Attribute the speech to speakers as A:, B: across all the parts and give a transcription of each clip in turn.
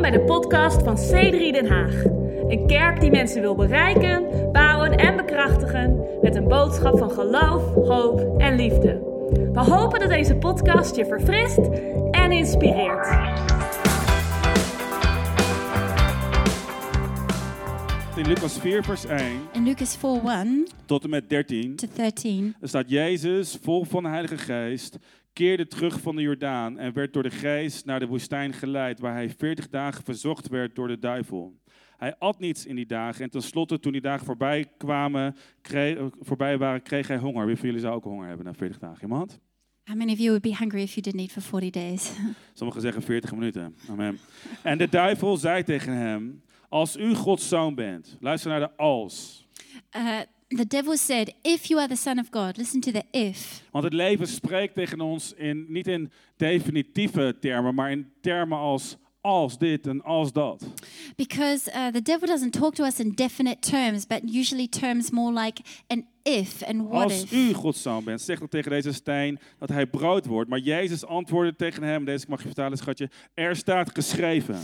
A: bij de podcast van C3 Den Haag. Een kerk die mensen wil bereiken, bouwen en bekrachtigen met een boodschap van geloof, hoop en liefde. We hopen dat deze podcast je verfrist en inspireert.
B: In Lucas 4, vers 1
C: In Lucas 4 1
B: tot en met 13
C: to 13,
B: er staat Jezus, vol van de Heilige Geest, keerde terug van de Jordaan en werd door de Geest naar de woestijn geleid, waar hij 40 dagen verzocht werd door de duivel. Hij at niets in die dagen en tenslotte, toen die dagen voorbij, kwamen, kreeg- eh, voorbij waren, kreeg hij honger. Wie van jullie zou ook honger hebben na 40 dagen? Iemand?
C: how many of you would be hungry if you didn't eat for 40 days?
B: Sommigen zeggen 40 minuten. Amen. En de duivel zei tegen hem, als u Gods zoon bent, luister naar de als.
C: Uh, the devil said, If you are the Son of God, listen to the if.
B: Want het leven spreekt tegen ons in, niet in definitieve termen, maar in termen als als dit en als dat.
C: Because uh, the devil doesn't talk to us in definite terms, but usually terms more like an if and what
B: Als
C: if.
B: u Gods zoon bent, zeg dan tegen deze steen dat hij brood wordt. Maar Jezus antwoordde tegen hem, deze mag je vertalen schatje, er staat geschreven.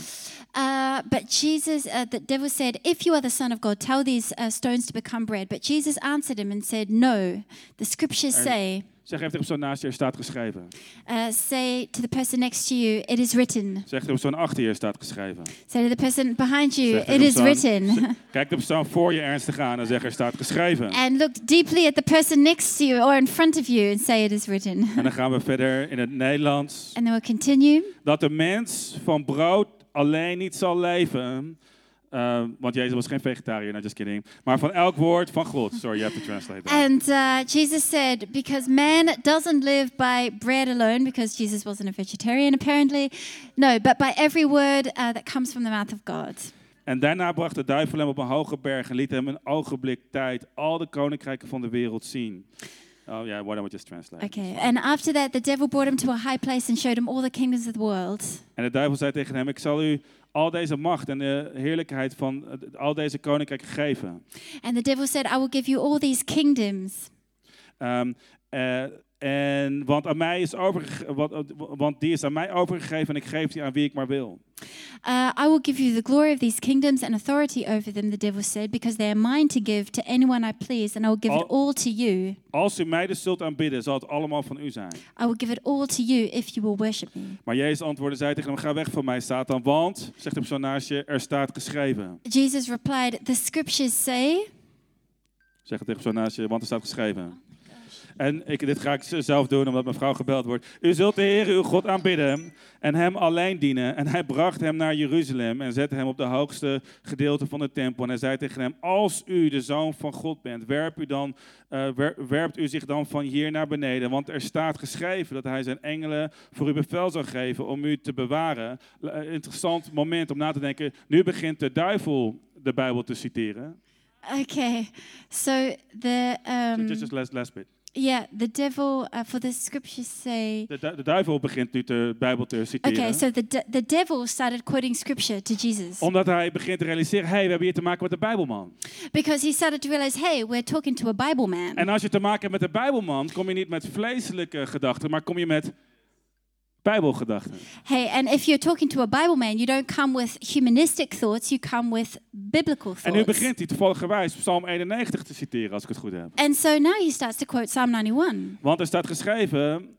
C: Uh, but Jesus, uh, the devil said, If you are the Son of God, tell these uh, stones to become bread. But Jesus answered him and said, No, the scriptures
B: Er-
C: say,
B: Zeg even tegen zo'n naast je, er staat geschreven.
C: uh, say to the person next to you, It is written.
B: Zeg tegen zo'n achter je, er staat geschreven.
C: Say to the person behind you,
B: Zeg
C: It
B: tegen
C: is
B: persoon-
C: written.
B: Zeg- Kijk de persoon voor je ernstig aan en zeg er staat geschreven.
C: and look deeply at the person next to you or in front of you and say it is written.
B: En dan gaan we verder in het Nederlands.
C: And then we'll continue.
B: dat de mens van brood alleen niet zal leven. Eh, want Jezus was geen vegetariër, no, just kidding. Maar van elk woord van God. Sorry, you have to translate that.
C: And uh, Jesus said, because man doesn't live by bread alone, because Jesus wasn't a vegetarian apparently, no, but by every word uh, that comes from the mouth of God.
B: En daarna bracht de duivel hem op een hoge berg en liet hem een ogenblik tijd al de koninkrijken van de wereld zien. Oh ja, why don't we just translate?
C: Okay. And after that, the devil brought him to a high place and showed him all the kingdoms of the world.
B: En de duivel zei tegen hem, ik zal u al deze macht en de heerlijkheid van eh, al deze koninkrijken geven.
C: And the devil said, I will give you all these kingdoms.
B: Ehm, eh, en, want, aan mij is overge- want, want die is aan mij overgegeven en ik geef die aan wie ik maar wil.
C: Uh, I will give you the glory of these kingdoms and authority over them, the devil said, because they are mine to give to anyone I please, and I will give
B: Al-
C: it all to you.
B: Als u mij dus zult aanbidden, zal het allemaal van u zijn.
C: I will give it all to you if you will worship me.
B: Maar Jezus antwoordde, zei tegen hem, ga weg van mij, Satan, want, zegt de persoon naast je, er staat geschreven.
C: Jesus replied, The scriptures say,
B: Zeg het tegen de persoon naast je, want er staat geschreven. En ik, dit ga ik z- zelf doen, omdat mijn vrouw gebeld wordt. U zult de Heer uw God aanbidden en hem alleen dienen. En hij bracht hem naar Jeruzalem en zette hem op de hoogste gedeelte van de tempel. En hij zei tegen hem, als u de Zoon van God bent, werp u dan, eh, wer- werpt u zich dan van hier naar beneden. Want er staat geschreven dat hij zijn engelen voor u bevel zal geven om u te bewaren. L- eh, interessant moment om na te denken. Nu begint de duivel de Bijbel te citeren.
C: Okay, so the um,
B: Just, just last, last bit.
C: yeah, the devil uh, for the scriptures say.
B: De, du- de duivel begint nu de Bijbel te citeren.
C: Okay, so the de- the devil started quoting scripture to Jesus
B: Omdat hij begint te realiseren, hé, hey, we hebben hier te maken met de Bijbelman.
C: because he started to realize, hey, we're talking to a Bible man.
B: En als je te maken hebt met de Bijbelman, kom je niet met vleeselijke gedachten, maar kom je met Bijbelgedachten.
C: Hey, and if you're talking to a Bible man, you don't come with humanistic thoughts, you come with biblical
B: En nu
C: thoughts.
B: begint hij toevalligerwijs Psalm 91 te citeren, als ik het goed heb.
C: And so now he starts to quote Psalm 91.
B: Want er staat geschreven,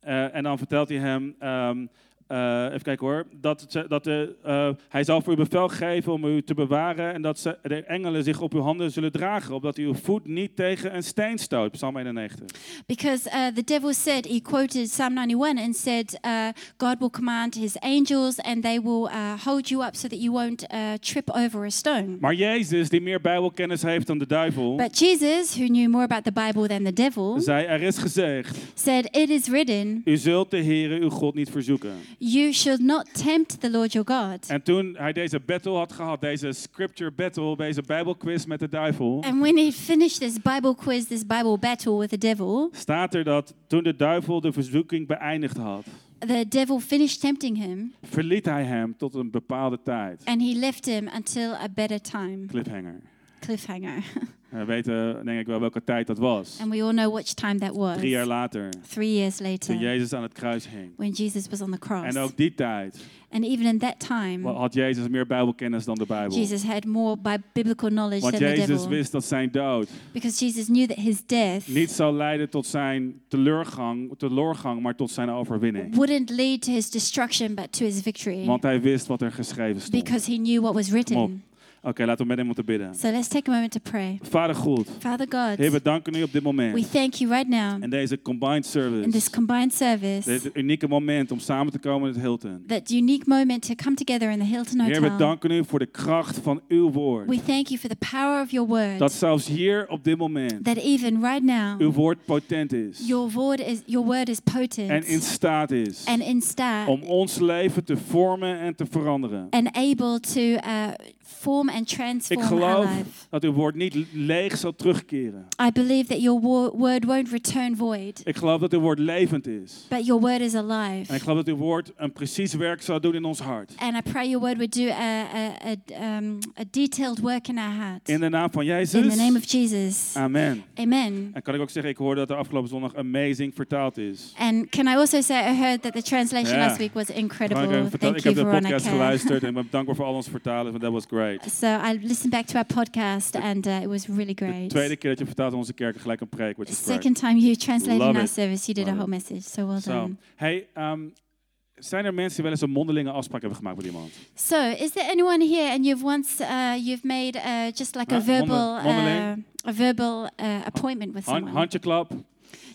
B: eh, en dan vertelt hij hem, ehm, eh, even kijken hoor, dat, ze- dat de, eh, hij zal voor u bevel geven om u te bewaren en dat ze, de engelen zich op uw handen zullen dragen, opdat u uw voet niet tegen een steen stoot. Psalm 91.
C: Because uh, the devil said, he quoted Psalm 91 and said, uh, God will command his angels and they will uh, hold you up so that you won't uh, trip over a stone.
B: Maar Jezus, die meer Bijbelkennis heeft dan de duivel,
C: But Jesus, who knew more about the Bible than the devil,
B: zei: Er is gezegd,
C: said, It is written,
B: u zult de Heere uw God niet verzoeken.
C: you shall not tempt the Lord your God.
B: En toen hij deze battle had gehad, deze scripture battle, deze Bijbelquiz met de duivel,
C: And when he finished this Bible quiz, this Bible battle with the devil,
B: staat er dat toen de duivel de verzoeking beëindigd had,
C: the devil finished tempting him
B: verliet hij hem tot een bepaalde tijd.
C: and he left him until a better time.
B: Cliffhanger.
C: Cliffhanger.
B: En we weten denk ik wel welke tijd dat was.
C: And we all know which time that was.
B: Drie jaar later,
C: Three years uh, later,
B: toen Jezus aan het kruis hing.
C: when Jesus was on the cross.
B: En ook die tijd
C: and even in that time,
B: wa- had Jezus meer bijbelkennis dan de Bijbel.
C: Jesus had more by biblical knowledge
B: Want
C: than the
B: Jezus
C: devil.
B: wist dat zijn dood
C: because Jesus knew that his death
B: niet zou leiden tot zijn teleurgang, teleurgang maar tot zijn overwinning.
C: wouldn't lead to his destruction but to his victory.
B: Want hij wist wat er geschreven stond.
C: Because he knew what was written.
B: Kom op. Oké, laten we met hem moeten bidden.
C: So let's take a moment to pray.
B: Vader God,
C: Father God,
B: Heer, we danken u op dit
C: we
B: moment.
C: thank you right now
B: En deze combined
C: in this
B: service.
C: combined service,
B: Dit unieke moment om samen te komen in het Hilton.
C: that unique moment to come together in the Hilton
B: Heer, we
C: Hotel.
B: danken u voor de kracht van uw
C: We
B: woord.
C: thank you for the power of your word.
B: Dat zelfs hier op dit moment
C: that even right now,
B: uw woord potent is.
C: your word is your word is potent
B: En in staat is
C: and in staat
B: om ons leven te vormen en te veranderen.
C: and able to uh, form and
B: Ik
C: transform our
B: geloof
C: life.
B: dat uw woord niet leeg zal terugkeren.
C: I believe that your wo- word won't return void,
B: Ik geloof dat uw woord levend is.
C: but your word is alive.
B: En ik geloof dat uw woord een precies werk zal doen in ons hart.
C: And I pray your word would do a, a, a, um, a detailed work in our hearts.
B: In Uh, de naam van
C: In the name
B: Jezus.
C: of Jesus.
B: Amen.
C: Amen.
B: En kan ik ook zeggen, ik hoorde dat er afgelopen zondag amazing vertaald is.
C: And can I also say, I heard that the translation
B: Ja.
C: last week was incredible.
B: Frank, eh, vertel-
C: Thank
B: ik
C: you,
B: heb de podcast
C: Veronica.
B: geluisterd en ben dankbaar voor al ons vertalen, want dat was great.
C: so I listened back to our podcast, and uh, it was really
B: De
C: great.
B: tweede keer dat je vertaalt in onze kerk gelijk een preek, which is great.
C: Second time you translated
B: Love
C: in our
B: it.
C: service, you did
B: Love
C: a whole
B: it.
C: message. So well
B: Zo.
C: done.
B: Hey, ehm, zijn er mensen die wel eens een mondelinge afspraak hebben gemaakt met iemand?
C: So, is there anyone here, and you've once uh, you've made uh, just like
B: Ja,
C: a verbal
B: wonder-
C: uh,
B: wonderling.
C: a verbal uh, appointment with
B: Hand,
C: someone?
B: handjeklap.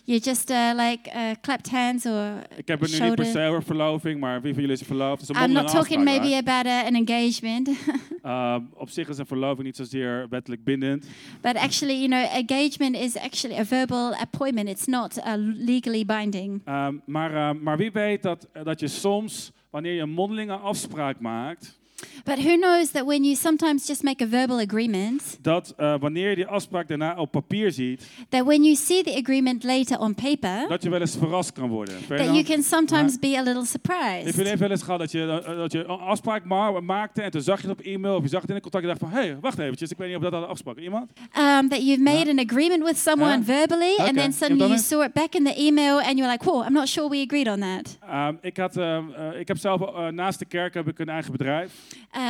C: You just uh, like uh, clapped hands or
B: Ik heb het nu niet per
C: shoulder.
B: se over verloving, maar wie van jullie is er verloofd? Het is een
C: I'm not
B: mondelinge
C: talking
B: afspraak,
C: maybe about a, an engagement,
B: right? Ehm, op zich is een verloving niet zozeer wettelijk bindend.
C: but actually, you know, engagement is actually a verbal appointment. It's not uh, legally binding.
B: Ehm, maar, ehm, maar wie weet dat, dat je soms, wanneer je een mondelinge afspraak maakt,
C: But who knows that when you sometimes just make a verbal agreement,
B: dat eh, wanneer je die afspraak daarna op papier ziet,
C: that when you see the agreement later on paper,
B: dat je wel eens verrast kan worden.
C: that
B: Fernand,
C: you can sometimes
B: maar-
C: be a little
B: Heb
C: surprised.
B: je wel eens gehad dat je, eh, dat je een afspraak ma- maakte en toen zag je het op e-mail of je zag het in een contact en dacht van, hé, hey, wacht eventjes, ik weet niet of dat had afgesproken. Iemand?
C: Um, that you've made an agreement with someone
B: Ja.
C: verbally,
B: Oké,
C: and then
B: je
C: suddenly
B: hebt
C: you
B: dat
C: saw it back in the email, and you're like, "Whoa, I'm not sure we agreed on that."
B: Ehm, ik, had, ehm, eh, ik heb zelf, eh, naast de kerk heb ik een eigen bedrijf.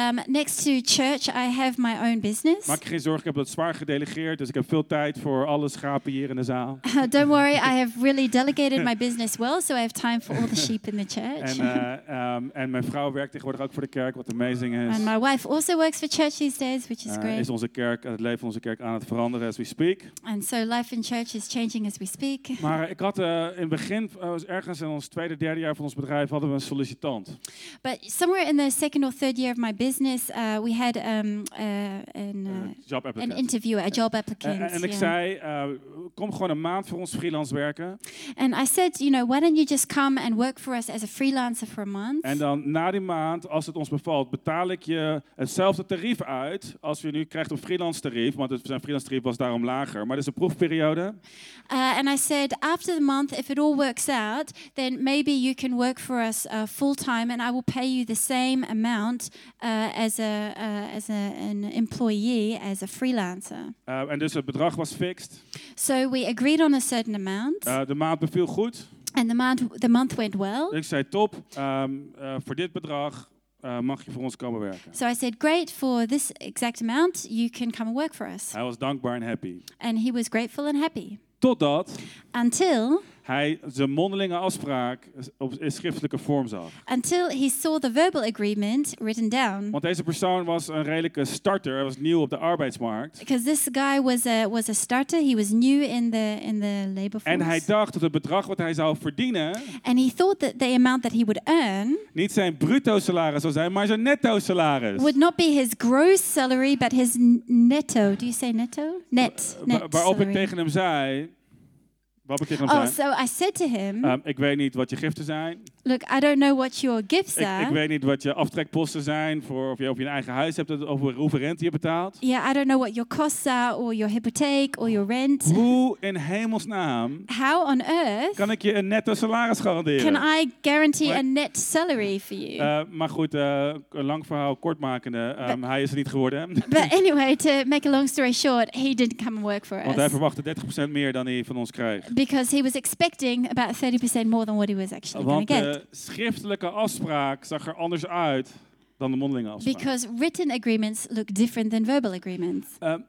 C: Um, next to church, I have my own business.
B: Maak je geen zorgen, ik heb dat zwaar gedelegeerd, dus ik heb veel tijd voor alle schapen hier in de zaal.
C: Uh, Don't worry, I have really delegated my business well, so I have time for all the sheep in the church.
B: En, eh, ehm, en mijn vrouw werkt tegenwoordig ook voor de kerk, wat amazing is.
C: and my wife also works for church these days, which Uh, is
B: Eh,
C: great.
B: is onze kerk, het leven van onze kerk aan het veranderen as we speak.
C: And so life in church is changing as we speak.
B: Maar eh, ik had eh, in het begin, eh, ergens in ons tweede, derde jaar van ons bedrijf, hadden we een sollicitant.
C: But somewhere in the second or third year of my business, uh, we had um, uh,
B: eh,
C: an,
B: job
C: uh, an
B: applicant.
C: interviewer, a job
B: Eh,
C: applicant.
B: eh, en ik
C: yeah.
B: zei, eh, kom gewoon een maand voor ons freelance werken.
C: And I said, you know, why don't you just come and work for us as a freelancer for a month?
B: En dan na die maand, als het ons bevalt, betaal ik je hetzelfde tarief uit als je nu krijgt op freelance tarief. Want het- zijn freelance tarief was daarom lager. Maar dat is een proefperiode.
C: Uh, and I said, after the month, if it all works out, then maybe you can work for us uh, full time, and I will pay you the same amount uh, as a uh, as a, an employee, as a freelancer.
B: Eh, en dus het bedrag was fixed.
C: So we agreed on a certain amount,
B: Eh, de maand beviel goed.
C: and the month the month went well.
B: Dus ik zei, top, ehm, eh, voor dit bedrag eh, mag je voor ons komen werken.
C: So I said, great for this exact amount, you can come and work for us.
B: Hij was dankbaar en happy.
C: And he was grateful and happy
B: Totdat
C: until
B: hij zijn mondelinge afspraak op, in schriftelijke vorm zag.
C: until he saw the verbal agreement written down.
B: Want deze persoon was een redelijke starter. Hij was nieuw op de arbeidsmarkt.
C: Because this guy was a was a starter. He was new in the in the labor force,
B: En hij dacht dat het bedrag wat hij zou verdienen
C: and he thought that the amount that he would earn
B: niet zijn bruto salaris zou zijn, maar zijn netto salaris.
C: would not be his gross salary, but his n- netto. Do you say netto? Net.
B: Wa-
C: net
B: waarop ik
C: salary.
B: tegen hem zei, Wat ik tegen hem
C: Oh,
B: zei.
C: so I said to him,
B: ehm, ik weet niet wat je giften zijn.
C: Look, I don't know what your gifts
B: Ik, ik
C: are.
B: weet niet wat je aftrekposten zijn. Voor of je, of je een eigen huis hebt. Of hoeveel rente je betaalt.
C: Yeah, I don't know what your costs are or your hypothèque or your rent.
B: Hoe in hemelsnaam
C: How on earth
B: kan ik je een netto salaris garanderen?
C: can I guarantee a
B: Right.
C: net salary for you?
B: Eh, maar goed, eh, een lang verhaal kort makende. ehm, hij is er niet geworden.
C: But anyway, to make a long story short, he didn't come and work for
B: Want hij
C: us
B: verwachtte 30% meer dan hij van ons krijgt.
C: because he was expecting about 30% more than what he was actually
B: Want
C: going to get.
B: de schriftelijke afspraak zag er anders uit dan de mondelinge afspraak.
C: Because written agreements look different than verbal agreements.
B: Ehm,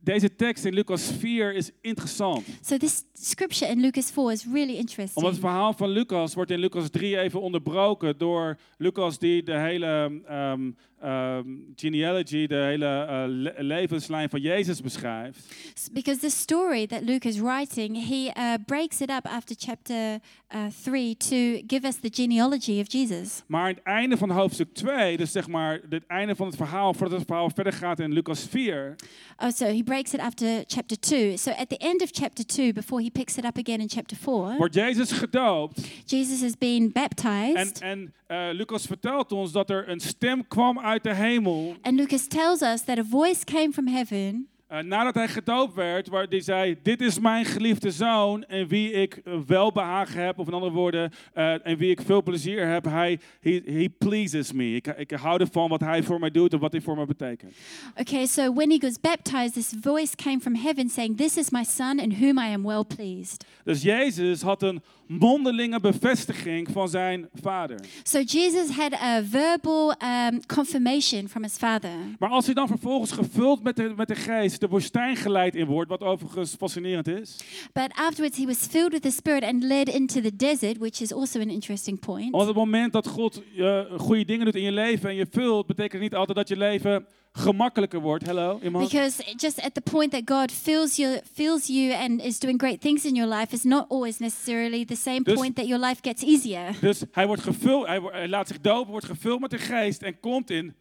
B: deze tekst in Lucas 4 is interessant.
C: So this scripture in Lucas 4 is really
B: Omdat het
C: interesting.
B: verhaal van Lucas wordt in Lucas 3 even onderbroken door Lucas die de hele ehm, ehm, genealogy, de hele eh, le- levenslijn van Jezus beschrijft.
C: S- Because the story that Luke is writing, he uh, breaks it up after chapter uh, 3 to give us the genealogy of Jesus.
B: Maar aan het einde van hoofdstuk 2, dus zeg maar het einde van het verhaal, voordat het verhaal verder gaat in Lucas 4,
C: Oh, so he breaks it after chapter 2. So at the end of chapter 2, before he picks it up again in chapter 4,
B: wordt Jezus gedoopt.
C: Jesus has been
B: En,
C: baptized.
B: en eh, Lucas vertelt ons dat er een stem kwam uit de hemel.
C: And Lucas tells us that a voice came from heaven
B: eh, nadat hij gedoopt werd, waar die zei: Dit is mijn geliefde zoon, en wie ik eh, welbehagen heb, of in andere woorden, eh, en wie ik veel plezier heb. Hij he, he pleases me. Ik, ik hou ervan wat hij voor mij doet en wat hij voor mij betekent.
C: Okay, so when he was baptized, this voice came from heaven saying, This is my son in whom I am well pleased.
B: Dus Jezus had een mondelinge bevestiging van zijn vader.
C: So Jesus had a verbal um, confirmation from his father.
B: Maar als hij dan vervolgens gevuld met de, met de geest de woestijn geleid in wordt, wat overigens fascinerend is.
C: But afterwards, he was filled with the Spirit and led into the desert, which is also an interesting point.
B: Want het moment dat God eh, goede dingen doet in je leven en je vult, betekent niet altijd dat je leven gemakkelijker wordt. Hello, iemand?
C: Because just at the point that God fills you, fills you and is doing great things in your life is not always necessarily the same
B: Dus-
C: point that your life gets easier.
B: Dus hij, wordt gevuld, hij, wo- hij laat zich dopen, wordt gevuld met de geest en komt in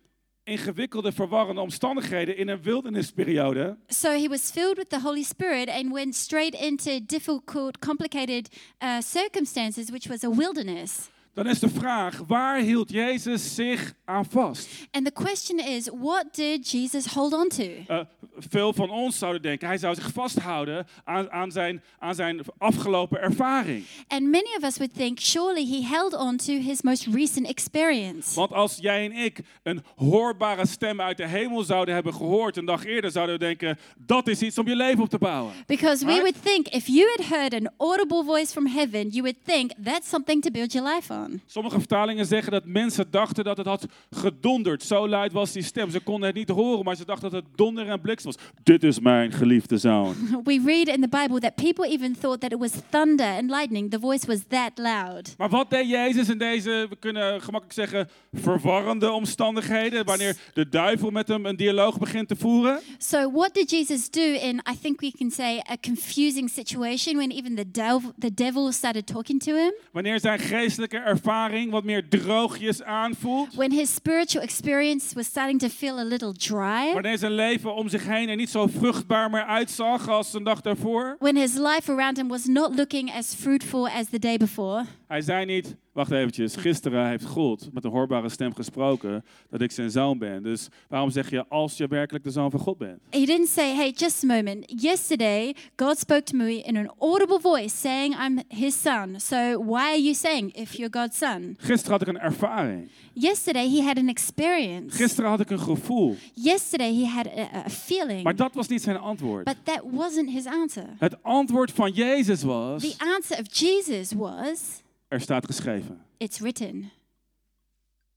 B: ingewikkelde, verwarrende omstandigheden in een wildernisperiode.
C: So he was filled with the Holy Spirit and went straight into difficult, complicated uh, circumstances, which was a wilderness.
B: Dan is de vraag, waar hield Jezus zich aan vast?
C: And the question is, what did Jesus hold on to?
B: Eh, veel van ons zouden denken, hij zou zich vasthouden aan, aan, zijn, aan zijn afgelopen ervaring.
C: And many of us would think, surely he held on to his most recent experience.
B: Want als jij en ik een hoorbare stem uit de hemel zouden hebben gehoord een dag eerder, zouden we denken: dat is iets om je leven op te bouwen.
C: Because we
B: Right?
C: would think if you had heard an audible voice from heaven, you would think that's something to build your life on.
B: Sommige vertalingen zeggen dat mensen dachten dat het had gedonderd. Zo luid was die stem. Ze konden het niet horen, maar ze dachten dat het donder en bliksem was. Dit is mijn geliefde zoon.
C: We read in the Bible that people even thought that it was thunder and lightning. The voice was that loud.
B: Maar wat deed Jezus in deze, we kunnen gemakkelijk zeggen, verwarrende omstandigheden? Wanneer de duivel met hem een dialoog begint te voeren?
C: So, what did Jesus do in, I think we can say, a confusing situation when even the, devil the devil started talking to him?
B: Wanneer zijn geestelijke ervaring wat meer droogjes aanvoelt?
C: When his spiritual experience was starting to feel a little dry?
B: Wanneer zijn leven om zich heen er niet zo vruchtbaar meer uitzag als een dag daarvoor.
C: When his life around him was not looking as fruitful as the day before?
B: Hij zei niet, wacht eventjes, gisteren heeft God met een hoorbare stem gesproken dat ik zijn zoon ben. Dus waarom zeg je als je werkelijk de zoon van God bent?
C: He didn't say, hey, just a moment. Yesterday, God spoke to me in an audible voice saying, I'm his son. So why are you saying if you're God's son?
B: Gisteren had ik een ervaring.
C: Yesterday, he had an experience.
B: Gisteren had ik een gevoel.
C: Yesterday, he had a, a feeling.
B: Maar dat was niet zijn antwoord.
C: But that wasn't his answer.
B: Het antwoord van Jezus
C: The
B: was,
C: answer of Jesus was,
B: er staat geschreven.
C: it's written.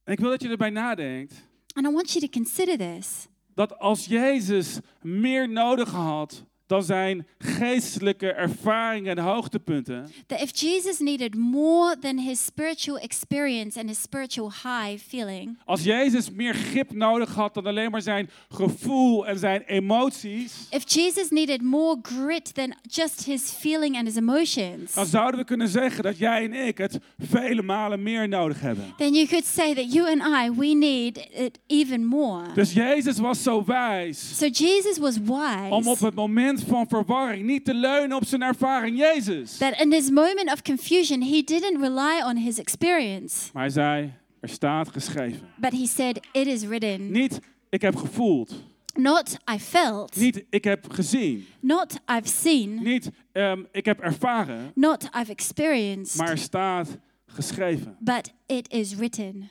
B: En ik wil dat je erbij nadenkt
C: And I want you to consider this
B: dat als Jezus meer nodig had dan zijn geestelijke ervaringen en hoogtepunten,
C: that if Jesus needed more than his spiritual experience and his spiritual high feeling,
B: Als Jezus meer grip nodig had dan alleen maar zijn gevoel en zijn emoties,
C: if Jesus needed more grit than just his feeling and his emotions,
B: dan zouden we kunnen zeggen dat jij en ik het vele malen meer nodig hebben.
C: then you could say that you and I, we need it even more.
B: Dus Jezus was zo wijs
C: So Jesus was
B: om op
C: wise
B: het moment moment van verwarring niet te leunen op zijn ervaring Jezus.
C: That in his moment of confusion, he didn't rely on his experience,
B: Maar hij zei, er staat geschreven.
C: but he said, It is written.
B: Niet, ik heb gevoeld.
C: Not I felt,
B: Niet, ik heb gezien.
C: not I've seen,
B: Niet, ehm, ik heb ervaren.
C: not I've experienced,
B: Maar er staat geschreven.
C: but it is written.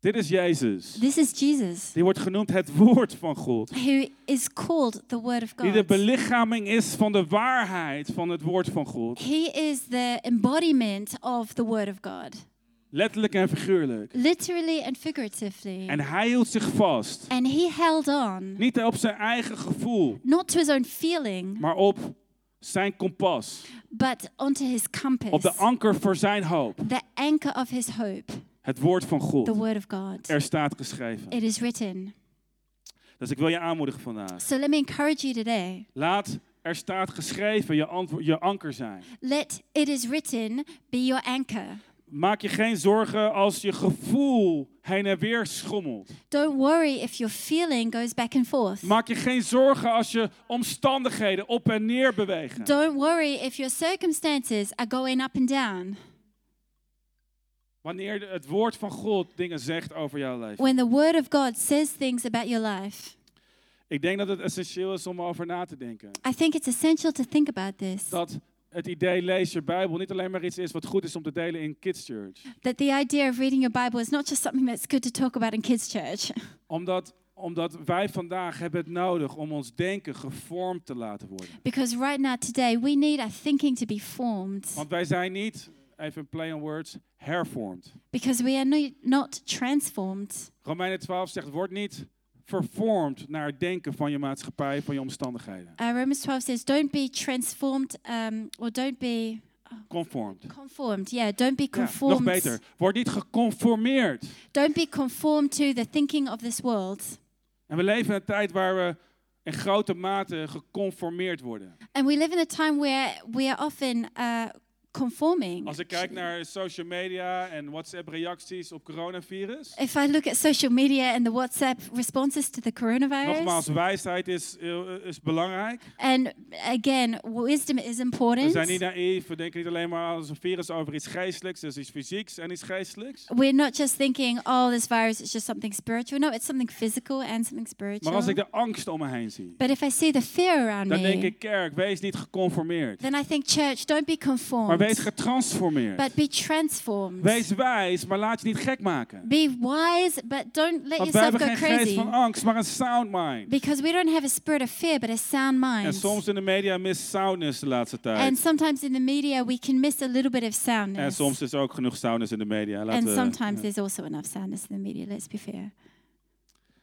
B: Dit is Jezus.
C: This is Jesus,
B: Die wordt genoemd het woord van God.
C: who is called the Word of
B: Die de
C: God.
B: belichaming is van de waarheid van het woord van God.
C: He is the embodiment of the Word of God,
B: Letterlijk en figuurlijk.
C: literally and figuratively.
B: En hij hield zich vast.
C: And he held on,
B: Niet op zijn eigen gevoel,
C: not to his own feeling,
B: maar op zijn kompas.
C: but onto his
B: Op
C: compass,
B: de anker voor zijn hoop.
C: the anchor of his hope,
B: Het woord van
C: the
B: God.
C: Word of God.
B: Er staat geschreven.
C: It is written.
B: Dus ik wil je aanmoedigen vandaag.
C: So let me encourage you today.
B: Laat er staat geschreven je, antwo- je anker zijn.
C: Let it is written be your anchor.
B: Maak je geen zorgen als je gevoel heen en weer schommelt.
C: Don't worry if your feeling goes back and forth.
B: Maak je geen zorgen als je omstandigheden op en neer bewegen.
C: Don't worry if your circumstances are going up and down.
B: Wanneer de- het woord van God dingen zegt over jouw leven.
C: When the Word of God says things about your life,
B: Ik denk dat het essentieel is om erover na te denken.
C: I think it's essential to think about this.
B: Dat het idee lees je Bijbel niet alleen maar iets is wat goed is om te delen in Kids Church.
C: That the idea of reading your Bible is not just something that's good to talk about in kids' church.
B: Omdat, omdat wij vandaag hebben het nodig om ons denken gevormd te laten worden.
C: Because right now, today, we need our thinking to be formed.
B: Want wij zijn niet, even een play on words, hervormd.
C: Because we are no- not transformed.
B: Romeinen 12 zegt, word niet vervormd naar het denken van je maatschappij, van je omstandigheden.
C: Uh, Romans 12 says, Don't be transformed um, or don't be
B: Conformed.
C: conformed. Yeah, don't be
B: Ja, nog
C: conformed.
B: beter. Word niet geconformeerd.
C: Don't be conformed to the thinking of this world.
B: En we leven in een tijd waar we in grote mate geconformeerd worden.
C: And we live in a time where we are often uh, conforming.
B: Als ik kijk naar social media en WhatsApp-reacties op coronavirus.
C: If I look at social media and the WhatsApp responses to the coronavirus,
B: Nogmaals, wijsheid is, eh, is belangrijk.
C: and again, wisdom is
B: We
C: important.
B: zijn niet naïef. We denken niet alleen maar "Ah, als een virus over iets geestelijks. Dus iets fysieks en iets geestelijks.
C: We're not just thinking, oh, this virus is just something spiritual. No, it's something physical and something spiritual.
B: Maar als ik de angst om me heen zie,
C: But if I see the fear around
B: dan
C: me,
B: denk ik, kerk, wees niet geconformeerd.
C: then I think, church, don't be
B: Maar
C: conformed,
B: wees getransformeerd.
C: but be transformed.
B: Wees wijs, maar laat je niet gek maken.
C: Be wise, but don't let
B: Want wij
C: yourself
B: hebben
C: go
B: geen geest
C: crazy.
B: van angst, maar een sound mind.
C: Because we don't have a spirit of fear, but a sound mind.
B: En soms in de media mist soundness de laatste
C: And
B: tijd.
C: sometimes in the media, we can miss a little bit of soundness.
B: En soms is er ook genoeg soundness in de media. Laten
C: And
B: we-
C: sometimes there's also enough soundness in the media, let's be fair.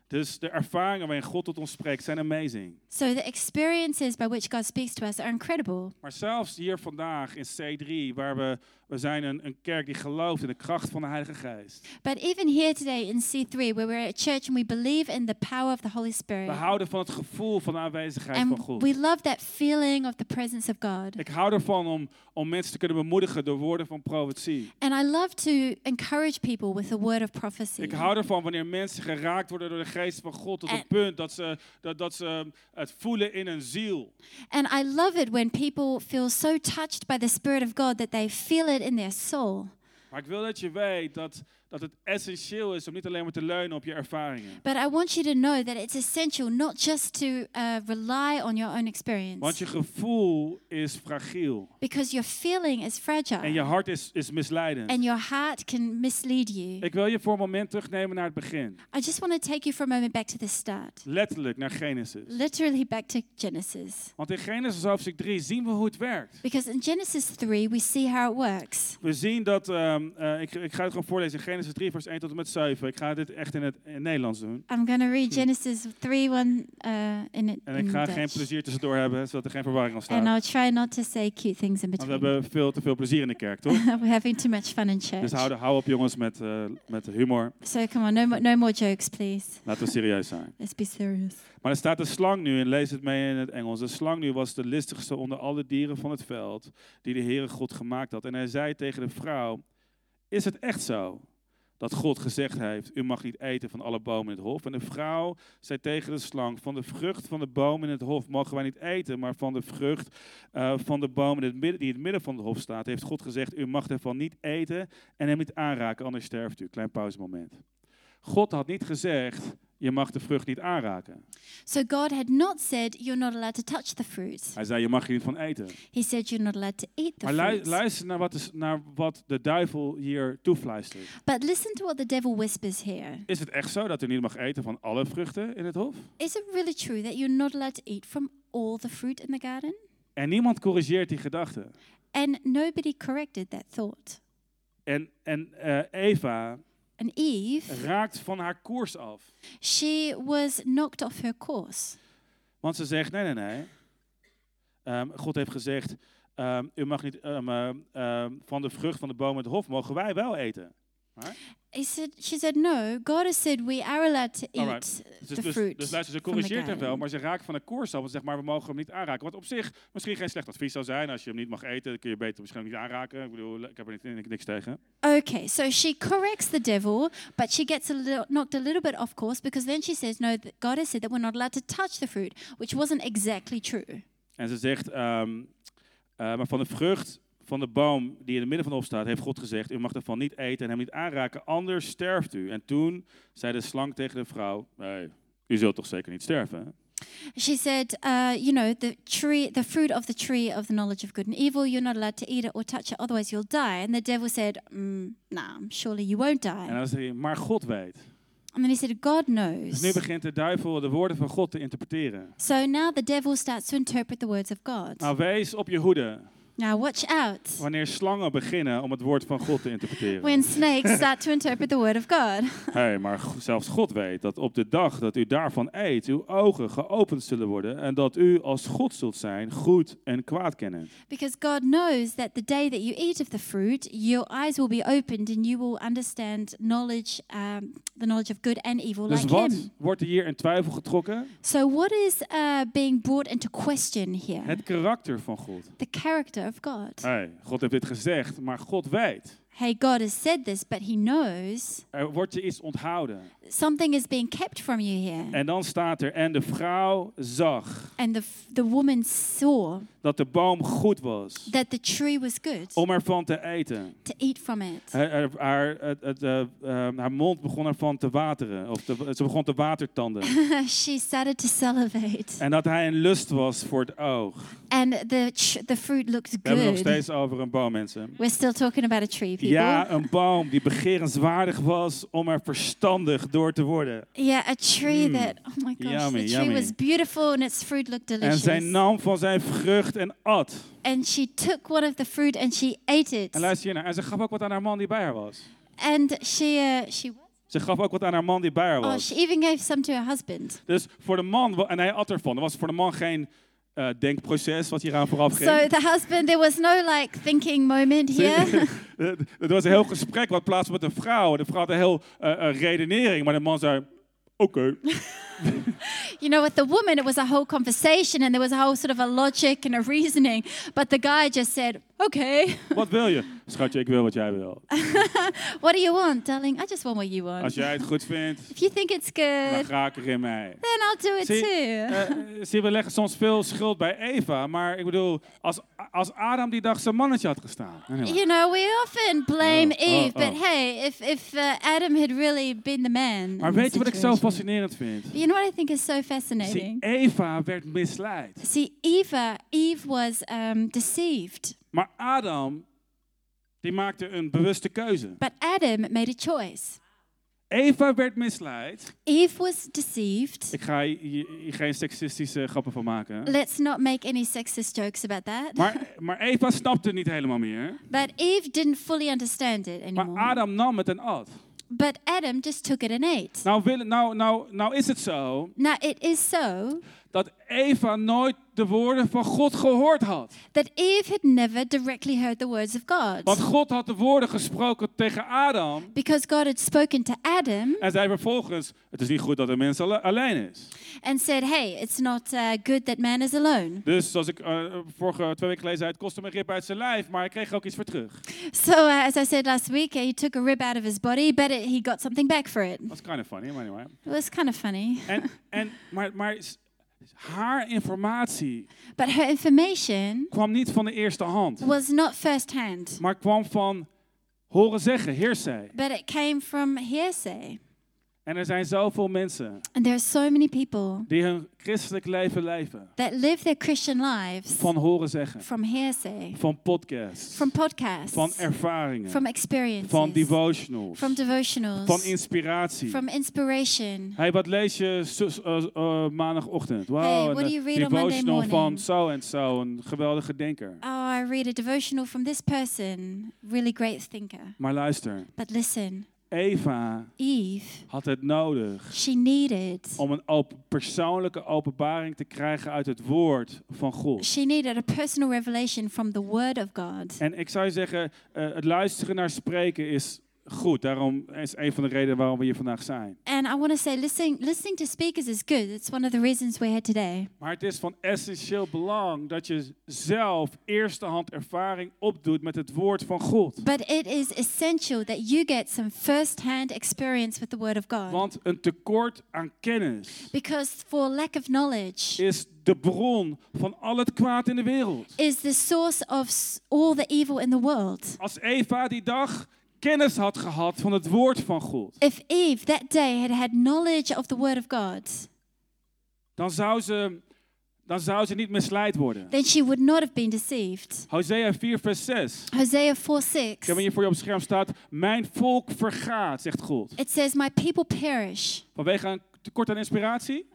B: Dus de ervaringen waarin God tot ons spreekt zijn amazing.
C: So the experiences by which God speaks to us are incredible.
B: Maar zelfs hier vandaag in C3, waar we, we zijn een, een kerk die gelooft in de kracht van de Heilige Geest.
C: But even here today in C3, where we're at church and we believe in the power of the Holy
B: We
C: Spirit,
B: houden van het gevoel van de aanwezigheid van
C: and
B: God.
C: we love that feeling of the presence of God.
B: Ik hou ervan om, om mensen te kunnen bemoedigen door woorden van profetie.
C: And I love to encourage people with the word of prophecy.
B: Ik hou ervan wanneer mensen geraakt worden door de geest van God tot
C: En-
B: het punt dat ze, dat, dat ze het voelen in hun ziel.
C: And I love it when people feel so touched by the Spirit of God that they feel it in their soul.
B: Maar ik wil dat je weet dat, dat het essentieel is om niet alleen maar te leunen op je ervaringen.
C: But I want you to know that it's essential not just to uh, rely on your own
B: Want
C: experience,
B: je gevoel is fragiel.
C: because your feeling is fragile
B: En je hart is, is misleidend.
C: and your heart can mislead you.
B: Ik wil je voor een moment terugnemen naar het begin.
C: I just want to take you for a moment back to the start,
B: Letterlijk naar Genesis.
C: literally back to Genesis.
B: Want in Genesis hoofdstuk 3 zien we hoe het werkt.
C: Because in Genesis 3, we see how it works.
B: We zien dat, ehm, eh, ik, ik ga het gewoon voorlezen in Genesis 3 vers 1 tot en met 7. Ik ga dit echt in het in het Nederlands doen.
C: I'm going to read Genesis 3 1 uh, in, it-
B: En
C: in
B: ik ga geen
C: Dutch.
B: plezier tussendoor hebben, zodat er geen verwarring
C: And
B: ontstaat.
C: I'll try not to say cute things in
B: Want we
C: between.
B: hebben veel te veel plezier in de kerk, toch?
C: We're having too much fun in church.
B: Dus hou, hou op jongens met, eh, met humor.
C: So come on, no, mo- no more jokes, please.
B: Laten we serieus zijn.
C: Let's be serious.
B: Maar er staat de slang nu, en lees het mee in het Engels. De slang nu was de listigste onder alle dieren van het veld, die de Heere God gemaakt had. En hij zei tegen de vrouw, is het echt zo? dat God gezegd heeft, u mag niet eten van alle bomen in het hof. En de vrouw zei tegen de slang, van de vrucht van de boom in het hof mogen wij niet eten, maar van de vrucht eh, van de boom in het midden, die in het midden van het hof staat, heeft God gezegd, u mag daarvan niet eten en hem niet aanraken, anders sterft u. Klein pauzemoment. God had niet gezegd, je mag de vrucht niet aanraken.
C: So God had not said, You're not allowed to touch the fruit.
B: Hij zei, je mag hier niet van eten.
C: He said, You're not allowed to eat the
B: Maar lui-
C: fruit.
B: luister naar wat, de, s- naar wat de duivel hier toefluistert.
C: But listen to what the devil whispers here.
B: Is het echt zo dat u niet mag eten van alle vruchten in het hof?
C: Is it really true that you're not allowed to eat from all the fruit in the garden?
B: En niemand corrigeert die gedachte.
C: And nobody corrected that thought.
B: En, en eh, Eva
C: And Eve,
B: raakt van haar koers af.
C: she was knocked off her course
B: Want ze zegt, nee, nee, nee. Ehm, God heeft gezegd, ehm, u mag niet ehm, ehm, ehm, van de vrucht van de boom in het hof, mogen wij wel eten.
C: He said, she said, no, God has said we are allowed to eat
B: Alright. Dus,
C: the
B: dus,
C: fruit.
B: dus luister, ze
C: from the
B: corrigeert hem
C: garden."
B: wel, maar ze raakt van haar koers af. Want ze zegt, maar we mogen hem niet aanraken. Wat op zich misschien geen slecht advies zou zijn. Als je hem niet mag eten, dan kun je beter misschien ook niet aanraken. Ik bedoel, ik heb er niet- niks tegen.
C: Okay, so she corrects the devil, but she gets a little, knocked a little bit off course because then she says, no, th- God has said that we're not allowed to touch the fruit, which wasn't exactly true.
B: En ze zegt, ehm, eh, maar van de vrucht van de boom die in het midden van opstaat, heeft God gezegd, u mag daarvan niet eten en hem niet aanraken, anders sterft u. En toen zei de slang tegen de vrouw, nee, u zult toch zeker niet sterven? hè?"
C: She said, uh, you know, the tree, the fruit of the tree of the knowledge of good and evil, you're not allowed to eat it or touch it, otherwise you'll die. And the devil said, mm, nah, surely you won't die.
B: En dan zei hij, maar God weet.
C: And then he said, God
B: Dus
C: knows.
B: nu begint de duivel de woorden van God te interpreteren.
C: So now the devil starts to interpret the words of God.
B: Nou, wees op je hoede
C: Now watch out
B: wanneer slangen beginnen om het woord van God te
C: when
B: interpreteren.
C: snakes start to interpret the word of God.
B: Hey, maar g- zelfs God weet dat op de dag dat u daarvan eet, uw ogen geopend zullen worden en dat u als God zult zijn, goed en kwaad kennen.
C: Because God knows that the day that you eat of the fruit, your eyes will be opened and you will understand knowledge, um, the knowledge of good and evil
B: Dus
C: like
B: wat
C: Him.
B: wordt er hier in twijfel getrokken?
C: So, what is uh, being brought into question here?
B: Het karakter van God.
C: the character of God.
B: Hey, God heeft dit gezegd, maar God weet.
C: hey, God has said this, but He knows
B: Er wordt je iets onthouden.
C: something is being kept from you here.
B: En dan staat er, en de vrouw zag
C: and the, f- the woman saw
B: dat de boom goed was
C: that the tree was good
B: om ervan te eten.
C: to eat from it.
B: Haar, haar, haar- het, het, eh, ehm, haar mond begon ervan te wateren. Of te- ze begon te watertanden.
C: she started to salivate,
B: en dat hij een lust was voor het oog. We
C: and the tr- the fruit looked
B: hebben het nog
C: good.
B: steeds over een boom, mensen.
C: We're still talking about a tree, people.
B: Ja, een boom die begerenswaardig was om er verstandig door te worden.
C: Yeah, a tree
B: Mm.
C: that oh my gosh,
B: Yummy,
C: the tree
B: yummy.
C: was beautiful and its fruit looked
B: En
C: delicious.
B: zij nam van zijn vrucht en at.
C: and she took one of the fruit and she ate it.
B: En luister hiernaar. En ze gaf ook wat aan haar man die bij haar was.
C: And she uh, she
B: Ze gaf ook wat aan haar man die bij haar
C: oh
B: was.
C: she even gave some to her husband.
B: Dus voor de man, wa- en hij at ervan. Er was voor de man geen eh, denkproces wat hieraan vooraf ging.
C: So the husband, there was no like thinking moment here.
B: Het- Het was een heel gesprek wat plaats met een vrouw. De vrouw had een heel eh, eh, redenering. Maar de man zei, oké.
C: you know, with the woman, it was a whole conversation and there was a whole sort of a logic and a reasoning. But the guy just said, "Okay,
B: Wat wil je? Schatje, ik wil wat jij wil.
C: what do you want, darling? I just want what you want.
B: Als jij het goed vindt,
C: If you think it's
B: dan
C: good,
B: ga ik er in mee.
C: then I'll do Eh, it
B: See,
C: too."
B: Eh, zie, we leggen soms veel schuld bij Eva. Maar ik bedoel, als, als Adam die dag zijn mannetje had gestaan. Anyway.
C: You know, we often blame
B: Oh, oh,
C: Eve, but
B: oh.
C: hey, if if uh, Adam had really been the man.
B: Maar
C: in the
B: weet je wat ik zo
C: situation-
B: fascinerend vind?
C: You know what I think is so
B: Zie,
C: fascinating?
B: Eva werd misleid.
C: See, Eva, Eve was um, deceived,
B: Maar Adam, die maakte een bewuste keuze.
C: but Adam made a choice.
B: Eva werd misleid.
C: Eve was deceived.
B: Ik ga hier hier geen seksistische grappen van maken.
C: Let's not make any sexist jokes about that.
B: Maar, maar Eva snapte het niet helemaal meer.
C: But Eve didn't fully understand it anymore.
B: Maar Adam nam het en at.
C: but Adam just took it and ate.
B: Nou, willen, nou, nou, nou is het zo
C: Now, it is so
B: dat Eva nooit de woorden van God gehoord had.
C: that Eve had never directly heard the words of God.
B: Want God had de woorden gesproken tegen Adam.
C: Because God had spoken to Adam
B: En zei vervolgens, het is niet goed dat een mens alle- alleen is.
C: and said, Hey, it's not uh, good that man is alone.
B: Dus zoals ik eh, vorige twee weken geleden zei, het kostte hem een rib uit zijn lijf, maar hij kreeg er ook iets voor terug.
C: So, uh, as I said last week, uh, he took a rib out of his body, but it, he got something back for it.
B: Dat is kind of funny, maar anyway.
C: It was kind of funny.
B: En, en, maar, maar s- haar informatie
C: But her information
B: kwam niet van de eerste hand,
C: was not firsthand,
B: maar kwam van horen zeggen, heersij.
C: but it came from hearsay.
B: En er zijn zoveel mensen
C: And there are so many people
B: die hun christelijk leven leven
C: that live their Christian lives
B: van horen zeggen,
C: from hearsay,
B: van podcasts,
C: from podcasts,
B: van
C: from
B: ervaringen,
C: experiences,
B: van devotionals,
C: from devotionals,
B: van inspiratie.
C: from inspiration.
B: Hey, wat lees je zus- eh, eh, maandagochtend? Wow,
C: Hey, what
B: een
C: do you read on Monday
B: devotional van
C: morning?
B: zo en zo, een geweldige denker.
C: Oh, I read a devotional from this person, really great thinker.
B: Maar luister,
C: But listen,
B: Eva
C: Eve,
B: had het nodig
C: she needed
B: om een op- persoonlijke openbaring te krijgen uit het woord van God.
C: She needed a personal revelation from the Word of God.
B: En ik zou je zeggen, eh, het luisteren naar spreken is goed. Daarom is een van de redenen waarom we hier vandaag zijn.
C: And I want to say, listening, listening to speakers is good. It's one of the reasons we're here today.
B: Maar het is van essentieel belang dat je zelf eerstehand ervaring opdoet met het woord van God.
C: But it is essential that you get some first hand experience with the Word of God.
B: Want een tekort aan kennis
C: Because for lack of knowledge
B: is de bron van al het kwaad in de wereld.
C: is the source of s- all the evil in the world.
B: Als Eva die dag kennis had gehad van het woord van God,
C: If Eve that day had had knowledge of the Word of God,
B: dan zou ze, dan zou ze niet misleid worden.
C: then she would not have been deceived.
B: Hosea 4, vers 6.
C: Hosea 4
B: Ik
C: 6,
B: heb hier voor je op het scherm staat. Mijn volk vergaat, zegt God.
C: it says, My people perish
B: Vanwege een tekort aan inspiratie,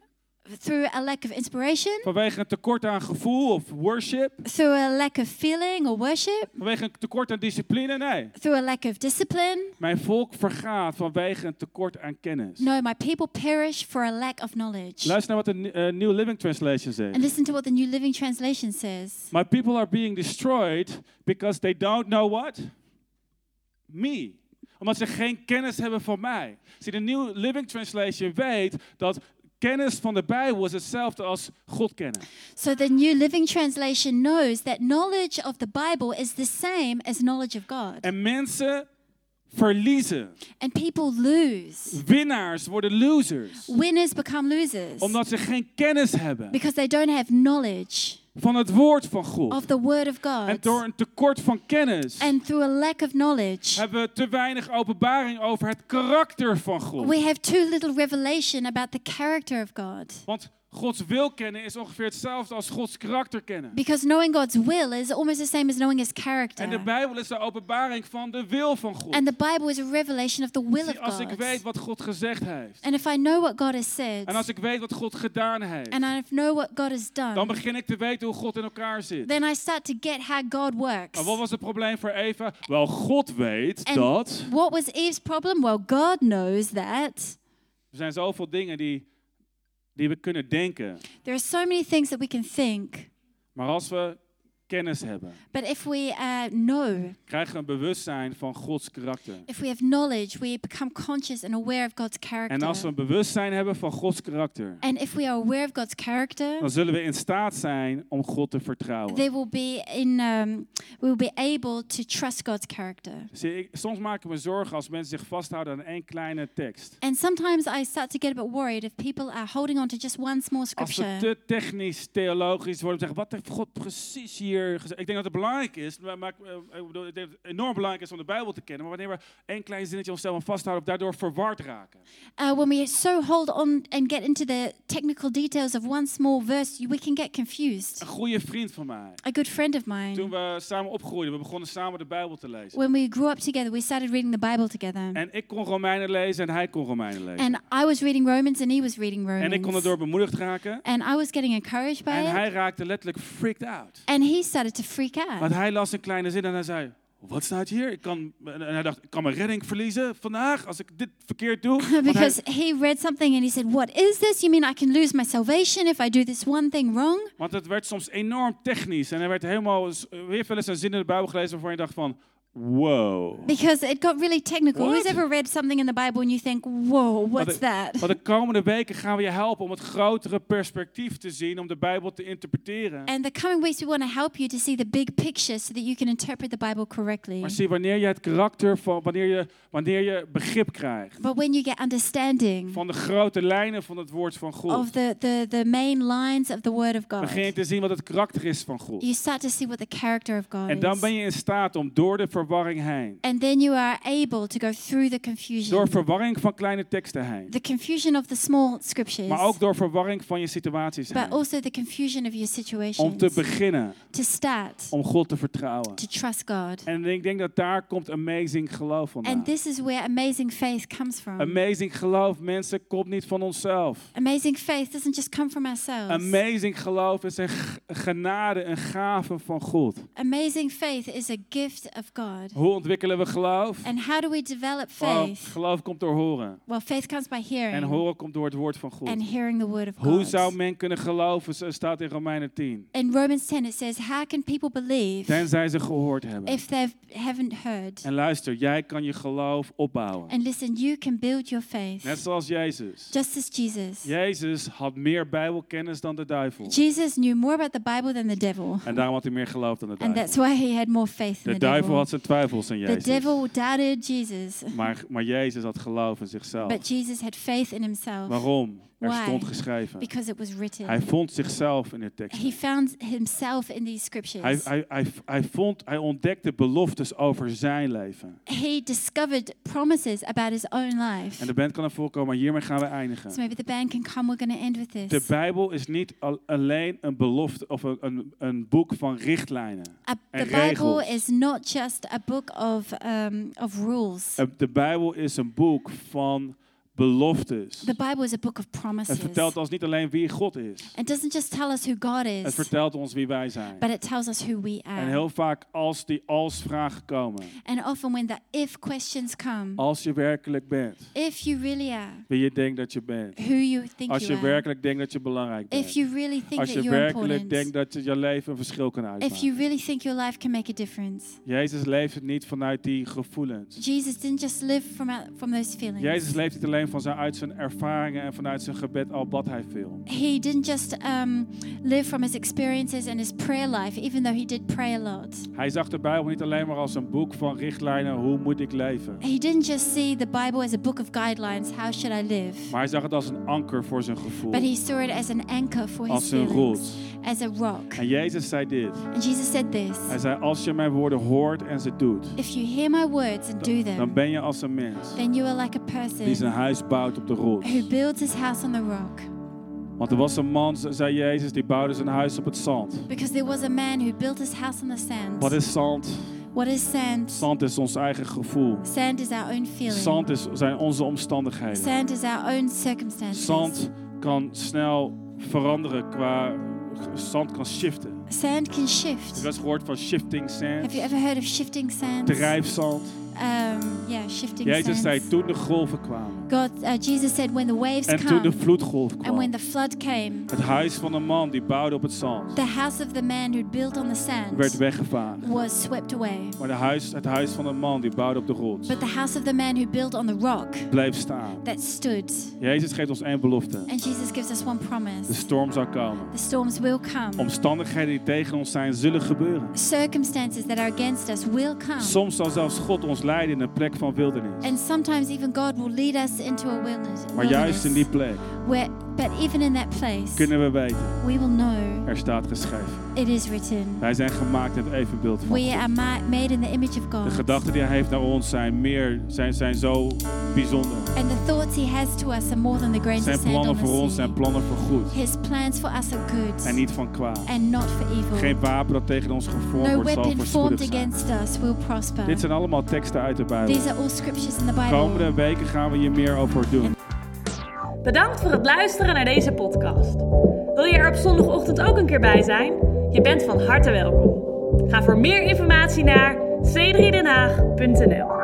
C: through a lack of inspiration.
B: vanwege een tekort aan gevoel of worship,
C: through a lack of feeling or worship,
B: vanwege een tekort aan discipline. Nee,
C: through a lack of discipline.
B: mijn volk vergaat vanwege een tekort aan kennis.
C: No, my people perish for a lack of knowledge.
B: Luister naar wat de Ni- eh, New Living Translation
C: And
B: zegt.
C: listen to what the New Living Translation says.
B: My people are being destroyed because they don't know what? Me. Omdat ze geen kennis hebben van mij. Zie, de New Living Translation weet dat kennis van de Bijbel is hetzelfde als God kennen.
C: So the New Living Translation knows that knowledge of the Bible is the same as knowledge of God.
B: En mensen verliezen.
C: And people lose.
B: Winnaars worden losers.
C: Winners become losers
B: Omdat ze geen kennis hebben
C: because they don't have knowledge
B: van het woord van God.
C: of the Word of
B: En
C: God.
B: door een tekort van kennis
C: And through a lack of knowledge,
B: hebben we te weinig openbaring over het karakter van God.
C: we have too little revelation about the character of God.
B: Want Gods wil kennen is ongeveer hetzelfde als Gods karakter kennen.
C: Because knowing God's will is almost the same as knowing His character.
B: En de Bijbel is de openbaring van de wil van God.
C: And the Bible is a revelation of the will of
B: Zie, als ik
C: God.
B: weet wat God gezegd heeft.
C: And if I know what God has said,
B: En als ik weet wat God gedaan heeft.
C: and I know what God has
B: Dan
C: done,
B: begin ik te weten hoe God in elkaar zit.
C: then I start to get how God works.
B: Maar wat was het probleem voor Eva? Wel, God weet
C: En-
B: dat.
C: What was Eve's problem? Well, God knows that.
B: Er zijn zoveel dingen die, die we kunnen denken.
C: There are so many things that we can think,
B: Maar als we kennis hebben,
C: but if we uh, know,
B: krijgen we een bewustzijn van Gods karakter.
C: if we have knowledge, we become conscious and aware of God's
B: En als we
C: character.
B: een bewustzijn hebben van Gods karakter,
C: And if we are aware of God's character,
B: dan zullen we in staat zijn om God te vertrouwen.
C: they will be in. Um, we will be able to trust God's character.
B: Zie, ik- soms maak ik me zorgen als mensen zich vasthouden aan één kleine tekst.
C: And sometimes I start to get a bit worried if people are holding on to just one small
B: Als we
C: scripture.
B: te technisch, theologisch worden, zeggen wat heeft God precies hier gezegd? Ik denk dat het belangrijk is, maar, maar, eh, ik bedoel, ik denk dat het enorm belangrijk is om de Bijbel te kennen, maar wanneer we één klein zinnetje onszelf aan vasthouden, of daardoor verward raken.
C: Uh, when we so hold on and get into the technical details of one small verse, you- we can get confused.
B: Een goede vriend van mij,
C: A good friend of
B: Toen
C: mine,
B: we samen opgroeiden, we begonnen samen de Bijbel te lezen.
C: when we grew up together, we started reading the Bible together.
B: En ik kon Romeinen lezen en hij kon Romeinen lezen.
C: And I was reading Romans and he was reading
B: en ik kon erdoor
C: Romans.
B: bemoedigd raken.
C: And I was getting encouraged by
B: En
C: it.
B: hij raakte letterlijk freaked out.
C: And he started to freak
B: Want
C: out
B: hij las een kleine zin en hij zei, Wat staat hier? Ik kan, en hij dacht, ik kan mijn redding verliezen vandaag als ik dit verkeerd doe. Want hij-
C: because he read something and he said, What is this? You mean I can lose my salvation if I do this one thing wrong?
B: Want het werd soms enorm technisch. En hij werd helemaal... s- Weer wel eens een zin in de Bijbel gelezen waarvan je dacht van... Wow.
C: Because it got really technical. Who's
B: What?
C: ever read something in the Bible and you think, Whoa, what's
B: maar
C: that?
B: de, maar de komende weken gaan we je helpen om het grotere perspectief te zien, om de Bijbel te interpreteren.
C: And the coming weeks, we want to help you to see the big picture so that you can interpret the Bible correctly.
B: Maar zie, wanneer je het karakter van, wanneer je, wanneer je begrip krijgt
C: But when you get understanding
B: van de grote lijnen van het woord van God,
C: of the, the, the main lines of the Word of God,
B: begin je te zien wat het karakter is van God.
C: you start to see what the character of God
B: En dan ben
C: is.
B: je in staat om door de verwarring heen,
C: And then you are able to go through the confusion
B: door verwarring van kleine teksten heen,
C: the confusion of the small scriptures,
B: maar ook door verwarring van je situaties
C: but
B: heen,
C: also the confusion of your situations.
B: om te beginnen
C: to start
B: om God te vertrouwen.
C: to trust God.
B: En ik denk dat daar komt amazing geloof vandaan.
C: And this is where amazing faith comes from.
B: Amazing geloof, mensen, komt niet van onszelf.
C: amazing faith doesn't just come from ourselves.
B: Amazing geloof is een g- genade, een gave van God.
C: amazing faith is a gift of God.
B: Hoe ontwikkelen we geloof?
C: And how do we develop
B: Oh,
C: faith?
B: geloof komt door horen.
C: Well, faith comes by
B: En
C: hearing
B: horen komt door het woord van God.
C: and hearing the word of
B: Hoe zou
C: God.
B: men kunnen geloven, zo staat in Romeinen 10.
C: In Romans 10 it says, how can people believe
B: Tenzij ze gehoord hebben.
C: if they haven't heard?
B: En luister, jij kan je geloof opbouwen.
C: And listen, you can build your
B: Net
C: faith
B: zoals Jezus.
C: just as Jesus.
B: Jezus had meer bijbelkennis dan de duivel.
C: Jesus knew more about the Bible than the devil.
B: En daarom had hij meer geloof dan de
C: And
B: duivel.
C: that's why he had more faith than
B: De
C: the
B: duivel
C: devil.
B: had zijn twijfels aan
C: The
B: Jezus.
C: devil doubted Jesus,
B: Maar, maar Jezus had geloof in zichzelf.
C: but Jesus had faith in himself
B: Waarom? Er
C: Why?
B: stond geschreven.
C: because it was
B: Hij
C: written.
B: vond zichzelf in de tekst.
C: He found himself in these
B: Hij,
C: scriptures.
B: hij, hij, hij, vond, hij ontdekte beloftes over zijn leven.
C: He discovered promises about his own life.
B: En de band kan er voorkomen, maar hiermee gaan we
C: So
B: eindigen.
C: maybe the band can come. We're going to end with
B: De
C: this.
B: Bijbel is niet al- alleen een belofte of een, een, een boek van richtlijnen.
C: A, the
B: en
C: Bible
B: regels.
C: is not just a book of um, of rules.
B: Eh, De Bijbel is een boek van beloftes.
C: The Bible is a book of
B: Het
C: promises.
B: vertelt ons niet alleen wie God is.
C: It doesn't just tell us who God
B: Het
C: is,
B: vertelt ons wie wij zijn.
C: but it tells us who we
B: En
C: are.
B: heel vaak als die als-vragen komen.
C: And often when the if questions come,
B: Als je werkelijk bent
C: if you really are
B: wie je denkt dat je bent.
C: who you think
B: Als
C: you
B: je
C: are,
B: werkelijk denkt dat je belangrijk
C: if
B: bent.
C: you really think
B: Als je
C: that you're
B: werkelijk denkt
C: important,
B: dat je je leven een verschil kan
C: if you
B: uitmaken.
C: really think your life can make a difference.
B: Jezus leeft het niet vanuit die gevoelens.
C: Jesus didn't just live from out, from those feelings.
B: Jezus leeft het alleen van zijn, uit zijn ervaringen en vanuit zijn gebed, al bad hij veel.
C: He didn't just um, live from his experiences and his prayer life, even though he did pray a lot.
B: Hij zag de Bijbel niet alleen maar als een boek van richtlijnen, hoe moet ik leven?
C: He didn't just see the Bible as a book of guidelines, how should I live?
B: Maar hij zag het als een anker voor zijn gevoel,
C: But he saw it as an anchor for his
B: als een
C: feelings,
B: rots.
C: as a rock.
B: En Jezus zei dit.
C: And Jesus said this
B: Hij zei, als je mijn woorden hoort en ze doet,
C: If you hear my words and do
B: dan
C: them,
B: ben je als een mens
C: then you are like a
B: die zijn
C: person
B: huis bouwt op de
C: who
B: rots.
C: builds his house on the rock.
B: Want er was een man, zei Jezus, die bouwde zijn huis op het zand.
C: Because there was a man who built his house on the sand.
B: Wat is zand?
C: What is sand?
B: Zand is ons eigen gevoel.
C: Sand is our own feeling.
B: Zand is, zijn onze omstandigheden.
C: Sand is our own circumstances.
B: Zand kan snel veranderen qua... Zand kan shiften.
C: Sand can
B: Heb je
C: shift.
B: wel eens gehoord van shifting
C: Have
B: sands?
C: you ever heard of shifting sands?
B: Drijfzand.
C: Um, yeah, shifting
B: Jezus
C: sands.
B: zei, toen de golven kwamen.
C: God, uh, Jesus said, when the waves
B: En toen de
C: come
B: vloedgolf
C: and
B: kwam.
C: when the flood came,
B: Het huis van een man die bouwde op het zand
C: the house of the man who built on the sand
B: werd weggevaagd.
C: was swept away.
B: Maar de huis, het huis van een man die bouwde op de rots
C: But the house of the man who built on the rock
B: bleef staan.
C: that stood.
B: Jezus geeft ons één belofte.
C: And Jesus gives us one
B: De
C: promise
B: storm zal komen.
C: the storms will come,
B: Omstandigheden die tegen ons zijn, zullen gebeuren.
C: circumstances that are against us will come.
B: Soms zal zelfs God ons leiden in een plek van wildernis.
C: And sometimes even God will lead us into a wilderness,
B: Maar juist in die plek
C: where, but even in that place,
B: kunnen we weten,
C: we will know
B: er staat geschreven.
C: it is written.
B: Wij zijn gemaakt in het evenbeeld van
C: We
B: God.
C: are ma- made in the image of
B: De
C: God.
B: gedachten die hij heeft naar ons zijn meer, zijn, zijn zo bijzonder.
C: And the thoughts he has to us are more than the grains of
B: Zijn
C: sand
B: plannen
C: on the
B: voor ons zijn
C: sea.
B: plannen voor goed
C: His plans for us are good
B: en niet van kwaad.
C: and not for evil.
B: Geen wapen dat tegen ons gevormd wordt
C: No
B: zal
C: weapon formed
B: voorspoedig zijn.
C: against us will prosper.
B: Dit zijn allemaal teksten uit de Bijbel.
C: These are all scriptures in the Bible.
B: Komende weken gaan we hier meer over doen.
A: Bedankt voor het luisteren naar deze podcast. Wil je er op zondagochtend ook een keer bij zijn? Je bent van harte welkom. Ga voor meer informatie naar c3denhaag.nl